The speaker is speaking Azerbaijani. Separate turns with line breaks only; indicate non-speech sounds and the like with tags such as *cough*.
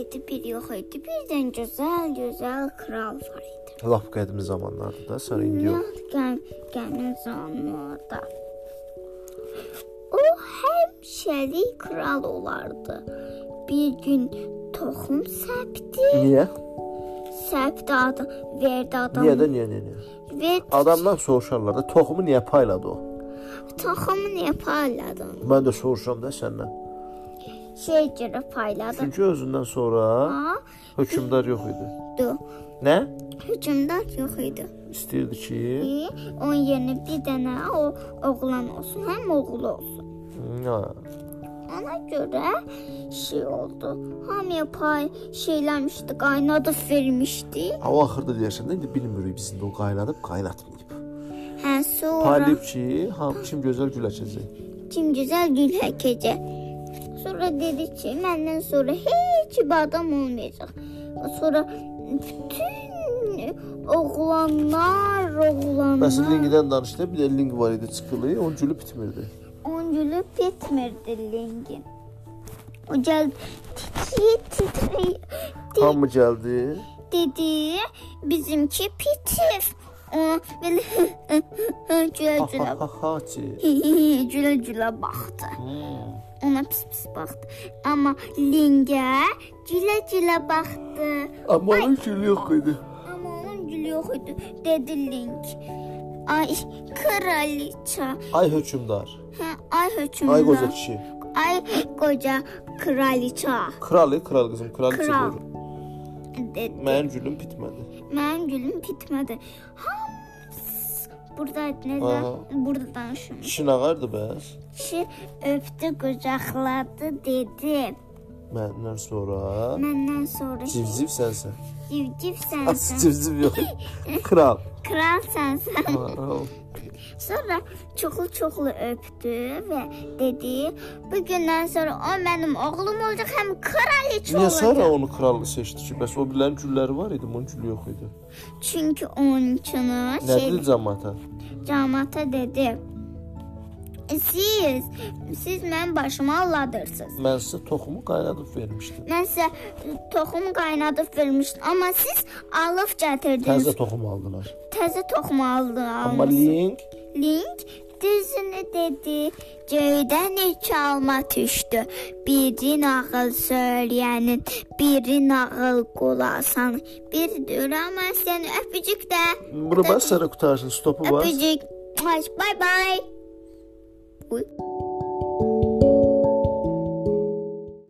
iti bir yox idi. Birdən gözəl, gözəl kral var idi.
Lap qədim zamanlarda da, sonra indi yox.
Gəl, gəlin zamanlarda. O həmişəlik kral olardı. Bir gün toxum səpdi,
Niyə?
səpdi adam, verdi adam.
Niyə də niyə niyə? niyə?
Verdi
Adamdan soruşarlar da toxumu niyə payladı o?
toxumu niyə payladın?
Mən də soruşuram da səndən.
Şey girib payladı.
Çünki özündən sonra
Ha,
hökmdar yox idi.
dur.
Nə?
Hücumdar yox idi.
İstəyirdi ki,
ki, onun yerinə bir dənə o oğlan olsun, həm oğlu olsun.
ha,
Ona görə şey oldu. Hamıya pay şeyləmişdi, qaynadıb vermişdi.
o axırda deyirsən də indi bilmirik biz indi o qaynadıb qaynatmayıb.
Hə, sonra
Paylayıb ki, ha, kim gözəl gül əkəcək.
kim gözəl gül həkəcə. Sonra dedi ki, məndən sonra heç bir adam olmayacaq. Sonra bütün oğlanlar,
Bəs
oğlanlar
linqdən danışdı, bir də linq var idi çıxılı, onun gülü bitmirdi.
on gülüb getmirdi lingin. O gəldi, titrəyə, titrəyə.
Hamı gəldi.
dedi bizimki pitif. O *laughs* belə gülə gülə
Ha ha ki.
gülə gülə baxdı. Ona pis pis baxdı. Amma Lingə gülə gülə baxdı.
Amma onun gülü yox idi.
Amma onun gülü yox idi. Dedi Ling. Ay kraliça.
Ay hökmdar,
Hə, ay hökmdar.
ay qoca kişi.
Ay qoca kraliça.
Kralı, kral qızım, kraliçə
Kral.
buyurun.
Dedi.
Mənim gülüm bitmədi.
Mənim gülüm bitmədi. Hamısı burada nədən
Aha.
burada danışım.
Kişi nağardı bəs.
Kişi öpdü, qucaqladı, dedi.
Məndən sonra
Məndən sonra
civciv sənsən. *laughs*
civciv
As
sənsən,
civciv yox. Kral.
kral sənsən.
Kral.
Sonra çoxlu-çoxlu öpdü və dedi: "Bu gündən sonra o mənim oğlum olacaq, həm kraliçə
Niyə sonra
olacaq."
onu kral seçdi ki? Bəs o birilərinin gülləri var idi, bunun gülü yox idi.
Çünki onunkini
Nə
şey
dedi cəmaata?
cəmaata dedi. "E, Siz siz mənim başımı alladırsınız.
Mən sizə toxumu qaynadıb vermişdim.
Mən sizə toxum qaynadıb vermişdim, amma siz alıb gətirdiniz.
Təzə toxum aldılar.
Təzə toxum aldı.
Amma link
Link düzünü dedi. Göydən iki alma düşdü. Biri nağıl söyləyənin, biri nağıl qulasan. Bir duramaz sən öpücük də.
bunu bas, sonra qutarsın, stopu bas.
Öpücük. Bay bay.